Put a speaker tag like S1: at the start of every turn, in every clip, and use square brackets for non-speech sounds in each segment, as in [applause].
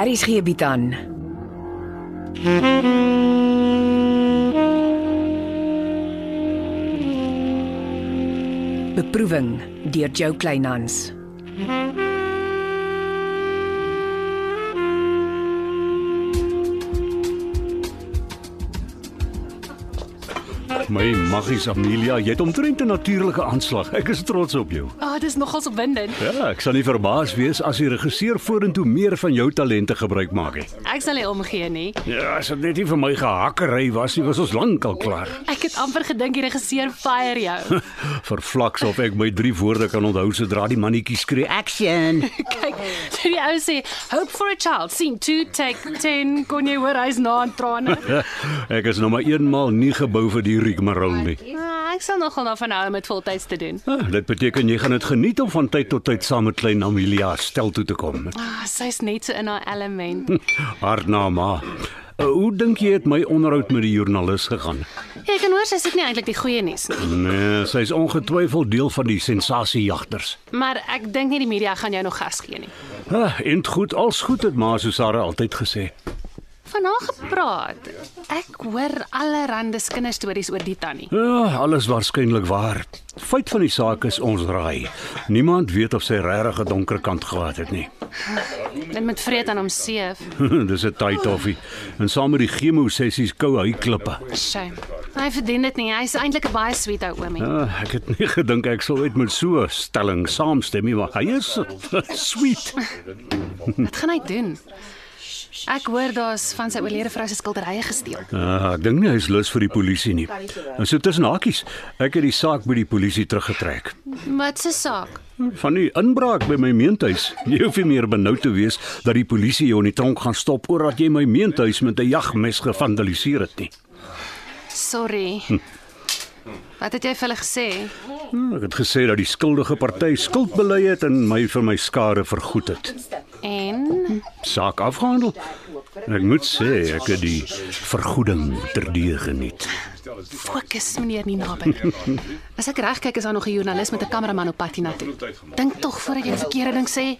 S1: Aries gee bied aan. Beproeving deur Jo Kleinhans.
S2: My maggies Amelia, jy het omtrent 'n natuurlike aanslag. Ek is trots op jou.
S3: Ah, dis nogals opwindend.
S2: Ja, ek sal nie verbaas wees as die regisseur vorentoe meer van jou talente gebruik maak nie.
S3: Ek sal nie omgee nie.
S2: Ja, as dit net nie vir my gehakkery was nie, was ons lank al klaar.
S3: Ek het amper gedink die regisseur fire jou. [laughs]
S2: Verflaks of ek my drie woorde kan onthou sodra die mannetjie skree action.
S3: Kyk, toe die ou sê, "Hope for a child." Sien, toe take 10 kon jy hoor hy's na aan [laughs] trane.
S2: ek is nou maar eenmal nie gebou vir die rigmarole nie.
S3: Ah, ek sal nogal daarvan hou om dit voltyds te doen.
S2: Ah, dit beteken jy gaan dit geniet om van tyd tot tyd saam met klein Amelia stel toe te kom.
S3: Ah, sy's net so in haar [laughs] element.
S2: Hard na ma. Uh, Hoe dink jy het my onderhoud met die joernalis gegaan?
S3: Jy Ja, kan hoor sy soek nie eintlik die goeie nuus nie,
S2: Nee, sy's ongetwyfeld deel van die sensasiejagters.
S3: maar ek dink nie die media gaan jou nog gas gee nie.
S2: Ah, en goed, als goed het ma Susara altyd gesê.
S3: Van haar gepraat. Ek hoor allerlei kinderstories oor die tannie.
S2: Ja, alles waarskynlik waar. Feit van die saak is ons raai. Niemand weet of sy regtig 'n donker kant gehad het nie. [laughs]
S3: En met vreet aan hom seef.
S2: Dis 'n tight toffie. En saam met die chemo sessies kou hy klippe.
S3: Shame. Hy verdien dit nie. Hy's eintlik 'n baie sweet ou oomie.
S2: Ah, ek het nie gedink ek sou ooit met so 'n stelling saamstem nie, maar hy is [laughs] sweet.
S3: Wat gaan hy doen? Ek hoor daar's van sy oorlede vrou se skilderye gesteel.
S2: Ah, ek dink nie hy is lus vir die polisie nie. En so tussen hakies, ek het die saak by die polisie teruggetrek.
S3: Wat se saak?
S2: Van die inbraak by my meentuis. Jy hoef nie meer benoud te wees dat die polisie jou in die tronk gaan stop omdat jy my meentuis met 'n jagmes gevandaliseer het nie.
S3: Sorry. Wat het jy vir hulle gesê?
S2: Hm, Ek het gesê dat die skuldige party skuld bely het en my vir my skade vergoed het.
S3: En
S2: Saak afgehandel. En Ek moet sê ek het die vergoeding terdee geniet.
S3: fokus meneer nie naby. As ek reg kyk is daar nog 'n joernalis met 'n kameraman op pad hiernatoe. Dink tog voordat jy die verkeerde ding sê.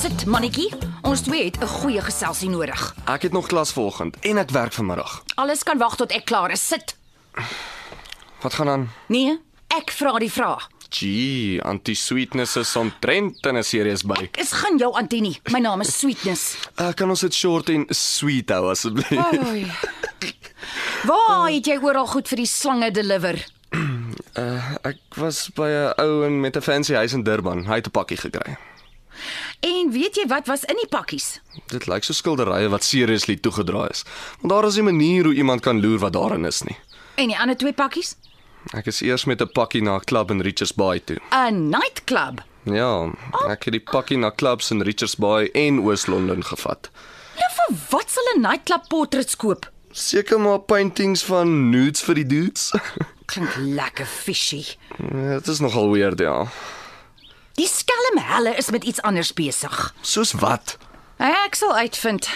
S4: Sit mannetjie, ons twee het 'n goeie geselsie nodig.
S5: Ek het nog klas vanoggend en ek werk vanmiddag.
S4: Alles kan wag tot ek klaar is. Sit.
S5: Wat gaan aan?
S4: Nee, ek vra die vraag.
S5: Gee, anti-sweetness is omtrent in 'n series by.
S4: Is gaan jou antenie. My naam is Sweetness.
S5: Uh, kan ons dit short en sweet hou asseblief?
S4: Oei. Waar het jy oral goed vir die slange deliver?
S5: [laughs] Ek was by 'n ou en met 'n fancy huis in Durban. Hy het 'n pakkie gekry.
S4: En weet jy wat was in die pakkies?
S5: Dit lyk so skilderye wat seriously toegedraai is. Want daar is 'n manier hoe iemand kan loer wat daarin is nie.
S4: En die ander twee pakkies?
S5: Ek is eers met 'n pakkie na 'n klub in Richards Bay toe.
S4: 'n Nightclub.
S5: Ja, ek het die pakkie na clubs in Richards Bay en Oos-London gevat.
S4: Nou vir wat sal 'n nightclub portret koop?
S5: Seker maar paintings van nudes vir die dudes. [laughs]
S4: Klink lekker fishy.
S5: Nee, Dit is nogal weird, ja.
S4: Die skelm helle is met iets anders besig.
S5: Soos wat?
S4: Nou ja, Ek sal uitvind.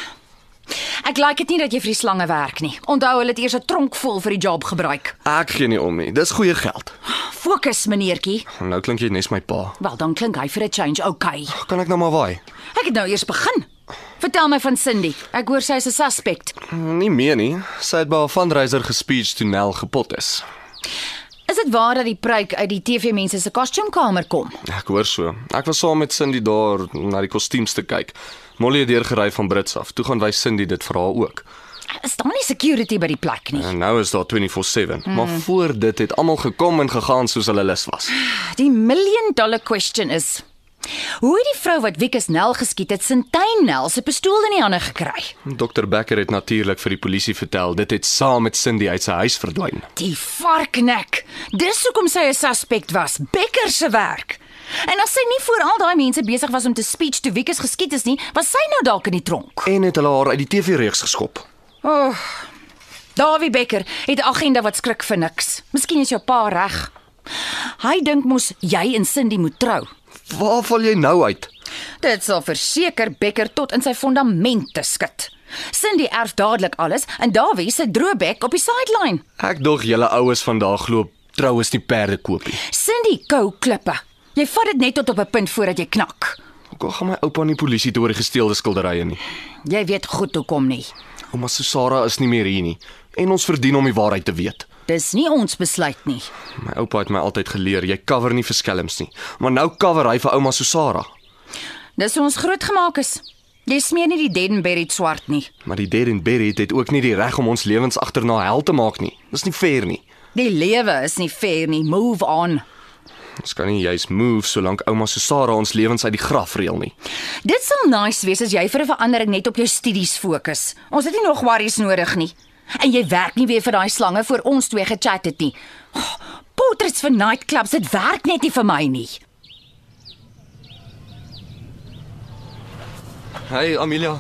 S4: Ek like dit nie dat jy vir die slange werk nie. Onthou hulle het eers 'n tronk vol vir die job gebruik.
S5: Ek gee nie om nie. Dis goeie geld.
S4: Fokus, meneertjie.
S5: Nou klink jy nes my pa.
S4: Wel, dan klink hy vir 'n change okay.
S5: Kan ek nou maar waai?
S4: Ek het nou eers begin. Vertel my van Cindy. Ek hoor sy is 'n suspect.
S5: Nie meer nie. Sy het by haar fundraiser gespeech toe Nel gepot is.
S4: Is dit waar dat die pruik uit die TV-mense se kostuumkamer kom?
S5: Ek hoor so. Ek was saam met Cindy daar na die kostuums te kyk. Molly het deurgery van Brits af. Toe gaan wys Cindy dit vir haar ook.
S4: Is daar nie security by die plek nie?
S5: En nou is daar 24/7, mm. maar voor dit het almal gekom en gegaan soos hulle lus was.
S4: Die million dollar question is Hoe het die vrou wat Wikus Nel geskiet het, Sintyn Nel se pistool in die hande gekry?
S5: Dr Becker het natuurlik vir die polisie vertel dit het saam met Cindy uit sy huis verdwyn.
S4: Die varknek. Dis hoekom sy 'n suspek was. Becker se werk. En as sy nie voor al daai mense besig was om te speech toe Wikus geskiet is nie, was sy nou dalk in die tronk.
S5: En het hulle haar uit die TV-reeks geskop.
S4: Dawie Becker het 'n agenda wat skrik vir niks. Miskien is jou pa reg. Hy dink mos jy en Cindy moet trou.
S5: Waar val jy nou uit?
S4: Dit sal verseker Becker tot in sy fondamente skud. Cindy erf dadelik alles en Dawie se droëbek op die sideline.
S5: Ek dog julle oues vandag loop troues nie perde koop nie.
S4: Cindy kou klippe. Jy vat dit net tot op 'n punt voordat jy knak.
S5: Ook al gaan my oupa nie polisie toe oor die gesteelde skilderye nie.
S4: Jy weet goed hoekom nie.
S5: Ouma Susara is nie meer hier nie en ons verdien om die waarheid te weet.
S4: Dis nie ons besluit nie.
S5: My oupa het my altyd geleer jy cover nie vir skelms nie, maar nou cover hy vir ouma Susara.
S4: Dis hoe ons grootgemaak is. Jy smeer nie die dead and buried swart nie.
S5: Maar die dead and buried het ook nie die reg om ons lewens agterna hel te maak nie. Dis nie fair nie.
S4: Die lewe is nie fair nie. Move on.
S5: Ons kan nie juis move solank ouma Susara ons lewens uit die graf reël nie.
S4: Dit sal nice wees as jy vir 'n verandering net op jou studies fokus. Ons het nie nog worries nodig nie. En jy werk nie weer vir daai slange voor ons twee gechat het nie. Oh, portraits vir nightclubs, dit werk net nie vir my nie.
S5: Hey Amelia,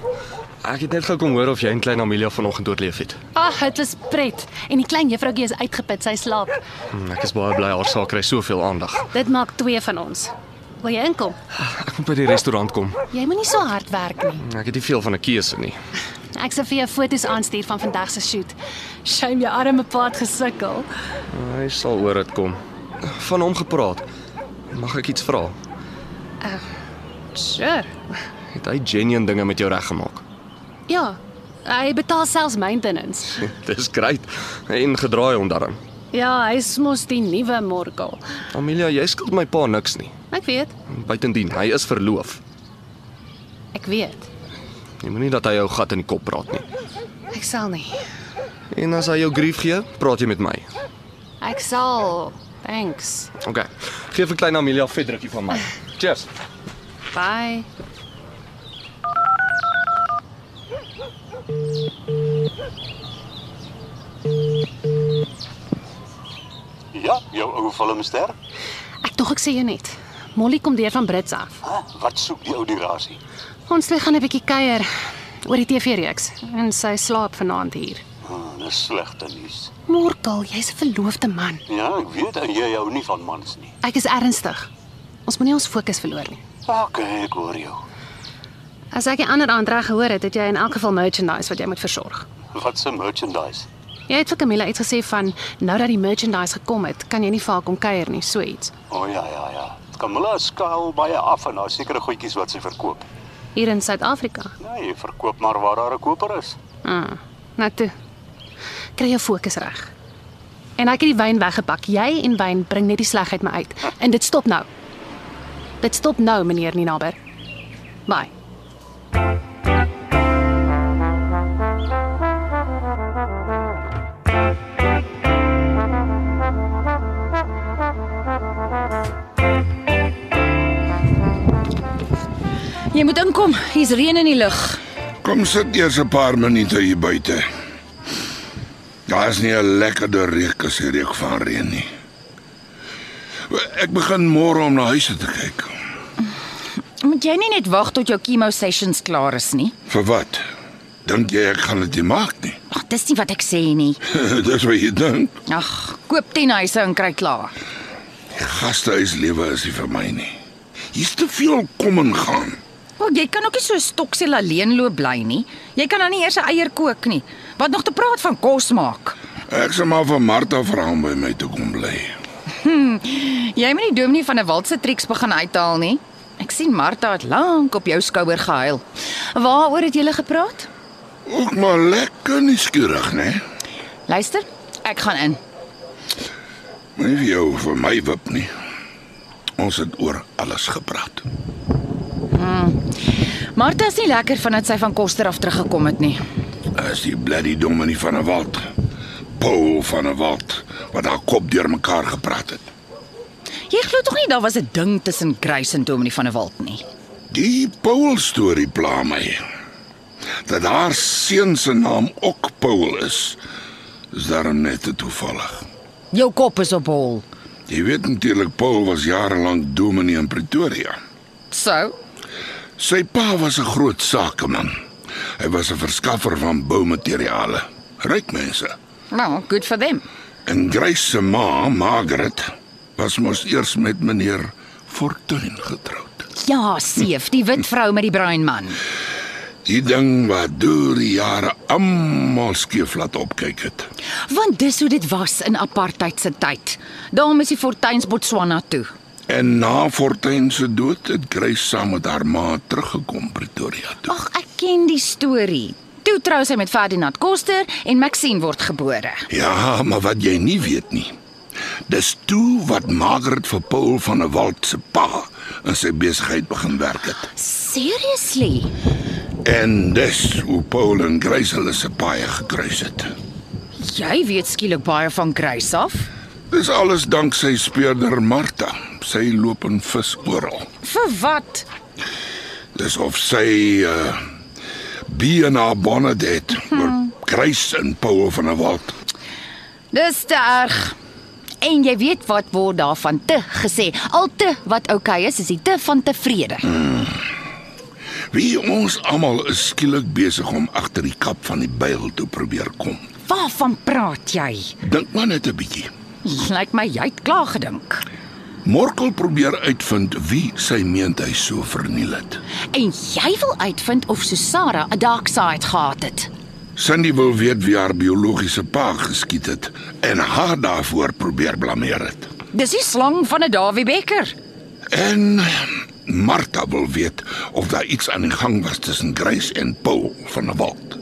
S5: ek het net gekom hoor of jy en klein Amelia vanoggend oorleef het.
S3: Ag, dit was pret. En die klein juffroukie is uitgeput, sy slaap.
S5: Hmm, Ek is baie bly haar saak kry soveel aandag.
S3: Dit maak twee van ons. Wil jy inkom?
S5: Ek moet by die restaurant kom.
S3: Jy moenie so hard werk nie.
S5: Ek het nie veel van 'n keuse nie.
S3: Ek sal vir jou foto's aanstuur van vandag se shoot. Shame jou arme pa het gesukkel.
S5: Hy sal oor dit kom. Van hom gepraat. Mag ek iets vra?
S3: Sure.
S5: Het hy genuen dinge met jou reggemaak? [laughs]
S3: Ja. Hy betaal selfs maintenance.
S5: Dis great. En gedraai hom daarin.
S3: Ja, hy's mos die nuwe Morkel.
S5: Amelia, jy skuld my pa niks nie.
S3: Ek weet.
S5: Buitendien, hy is verloof.
S3: Ek weet.
S5: Jy moenie dat hy jou gat in die kop praat nie.
S3: Ek sal nie.
S5: En as hy jou grief gee, praat jy met my.
S3: Ek sal. Thanks.
S5: OK. Geef vir klein Amelia 'n vet drukkie van my. Cheers.
S3: Bye.
S6: Ja, jou ou filmster.
S3: Ek tog ek sê jou net. Molly kom deur van Brits af.
S6: Ha, wat soek die ou durasie?
S3: Ons twee gaan 'n bietjie kuier oor die TV-reeks en sy slaap vanaand hier.
S6: Ah, dis slegte nuus.
S3: Morkel, jy's 'n verloofde man.
S6: Ja, ek weet en jy hou nie van mans nie.
S3: Ek is ernstig. Ons moenie ons fokus verloor nie.
S6: OK, ek hoor jou.
S3: As ek die ander aand reg gehoor het, het jy in elk geval merchandise wat jy moet versorg.
S6: Wat se merchandise?
S3: Jy het vir Camilla iets gesê van nou dat die merchandise gekom het, kan jy nie vir haar kom kuier nie, so iets.
S6: O oh, ja, ja, ja. Camilla skaal baie af en haar sekere goedjies wat sy verkoop.
S3: Hier in Suid-Afrika.
S6: Nee, jy verkoop maar waar daar 'n koper is.
S3: Ah, nou toe. Kry jou fokus reg. En ek het die wyn weggepak. Jy en wyn bring net die slegheid my uit. En dit stop nou. Dit stop nou, meneer Ninaber. Bye.
S4: Jy moet inkom. Hier's reën in die lug.
S7: Kom sit eers 'n paar minute hier buite. Daar is nie 'n lekkerder reuk as die reuk van reën nie. Ek begin môre om na huis toe te kyk.
S4: Moet jy nie net wag tot jou chemo sessions klaar is nie.
S7: Vir wat? Dink jy ek gaan dit nie maak nie? [laughs]
S4: Ag, dis nie wat ek sê nie.
S7: Dis wat jy dink.
S4: Ag, koop 10 huise en kry klaar.
S7: Gastehuislewe is nie vir my nie. Hier's te veel kom en gaan.
S4: O, jy kan ook nie so stoksel alleen loop bly nie. Jy kan dan nie eers 'n eier kook nie. Wat nog te praat van kos maak.
S7: Ek sal maar vir Martha vra om by my te kom bly.
S4: Jy moet nie Dominee van 'n Walt se triks begin uithaal nie. Ek sien Martha het lank op jou skouer gehuil. Waaroor het julle gepraat?
S7: Ook maar lekker nuuskierig, né?
S4: Luister, ek gaan in.
S7: Moenie vir jou vir my wip nie. Ons het oor alles gepraat.
S4: Martha is nie lekker vandat sy van Koster af teruggekom het nie.
S7: As die bloody dominee van 'n wald. Paul van 'n wald wat haar kop deurmekaar gepraat het.
S4: Jy glo tog nie daar was 'n ding tussen Grace en Dominee van 'n Walt nie.
S7: Die Paul storie pla my. Dat haar seun se naam ook Paul is. Is daarom net te toevallig.
S4: Jou kop is op hol.
S7: Jy weet natuurlik Paul was jare lank dominee in Pretoria.
S4: So,
S7: Sy pa was 'n groot sakeman. Hy was 'n verskaffer van boumateriale. Ryk mense.
S4: well, nou, good for them.
S7: En Grace se ma, Margaret, was mos eers met meneer Fortuin getroud.
S4: Ja, seef, die wit vrou met die bruin man.
S7: Die ding wat deur die jare almal skeef laat opkyk het.
S4: Want dis hoe dit was in apartheid se tyd. Daarom is die Fortuins Botswana toe.
S7: En na Fortuin se dood het Grace saam met haar ma teruggekom Pretoria toe.
S4: Ag, ek ken die storie. Toe trou sy met Ferdinand Koster en Maxine word gebore.
S7: Ja, maar wat jy nie weet nie. Dis toe wat Margaret vir Paul van der Walt se pa in sy besigheid begin werk het.
S4: Seriously?
S7: En dis hoe Paul en Grace hulle se paai gekruis het.
S4: Jy weet skielik baie van Grace af.
S7: Dis alles dank sy speurder Martha. Sy loop en vis oral.
S4: Vir wat?
S7: Dis of sy uh Biena Bonnet het oor Grace en Paul van der Walt.
S4: Dis te erg. En jy weet wat word daarvan te gesê. Al te wat oukei okay is, is die te van tevrede.
S7: Wie ons almal is skielik besig om agter die kap van die byl toe probeer kom.
S4: Waarvan praat jy?
S7: Dink maar net 'n bietjie.
S4: Lyk my jy het klaar gedink.
S7: Morkel probeer uitvind wie sy meentheid so verniel het.
S4: En jy wil uitvind of Susara 'n dark side gehad het.
S7: Sandy wil weet wie haar biologiese pa geskiet het en haar daarvoor probeer blameer het.
S4: Dis die slang van 'n Dawie Becker.
S7: En Martha wil weet of daar iets aan die gang was tussen Grace en Paul van der Walt.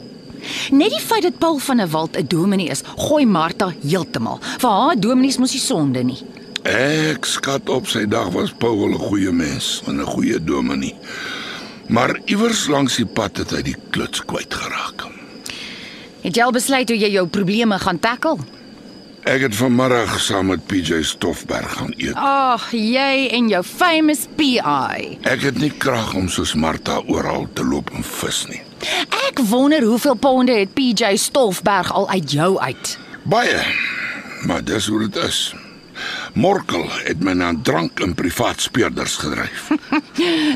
S4: Net die feit dat Paul van der Walt 'n dominee is, gooi Martha heeltemal. Vir haar dominees mos nie sonde nie.
S7: Ek skat op sy dag was Paul 'n goeie mens en 'n goeie dominee. Maar iewers langs die pad het hy die kluts kwyt geraak.
S4: Het jy al besluit hoe jy jou probleme gaan tackle?
S7: Ek het vanmiddag saam met PJ Stoffberg gaan eet.
S4: Ag, jy en jou famous PI.
S7: Ek het nie krag om soos Martha oral te loop en vis nie.
S4: Ek wonder hoeveel ponde het PJ Stoffberg al uit jou uit.
S7: Baie. Maar dis hoe dit is. Morkel het my na drank en privaat speurders gedryf.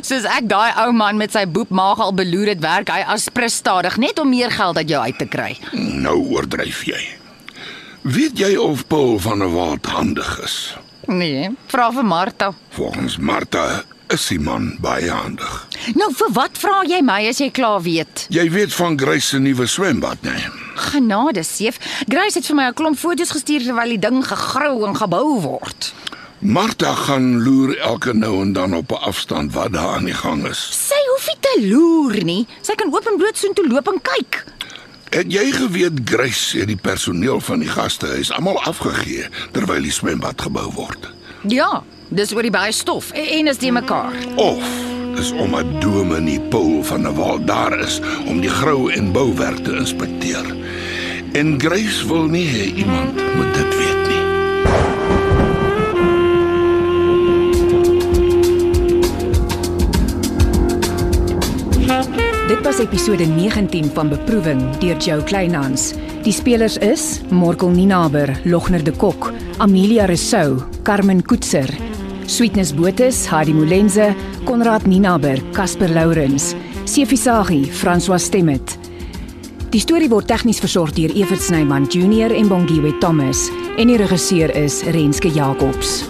S4: Soos ek daai ou man met sy boepmaag al beloer het, werk hy as prins stadig net om meer geld uit jou uit te kry.
S7: nou oordryf jy. Weet jy of Paul van der Walt handig is?
S4: Nee, vra vir Martha.
S7: Volgens Martha is die man baie handig.
S4: Nou vir wat vra jy my as jy klaar weet?
S7: Jy weet van Grace se nuwe swembad, né?
S4: Genade, seef. Grace het vir my 'n klomp foto's gestuur terwyl die ding gegrou en gebou word.
S7: Martha gaan loer elke nou en dan op 'n afstand wat daar aan die gang is.
S4: Sy hoef nie te loer nie. Sy kan oop en bloot soontoe loop en kyk.
S7: Het jy geweet Grace het die personeel van die gastehuis almal afgegee terwyl die swembad gebou word?
S4: Ja, dis oor die baie stof en, en is die mekaar.
S7: Of is om 'n dominee Paul van der Walt daar is om die grou en bouwerk te inspekteer. En Grace wil nie hê iemand moet dit weet nie.
S1: Dit was episode 19 van Beproewing deur Jo Kleinhans. Die spelers is Morkel Ninaber, Logner de Kok, Amelia Resou, Carmen Koetser, Sweetness Botus, Heidi Molenze, Konrad Ninaber, Casper Lourens, Sefisagi, François Stemmet. Die storie word tegnies versorg deur Evert Snyman Junior en Bongwe Thomas en die regisseur is Renske Jacobs.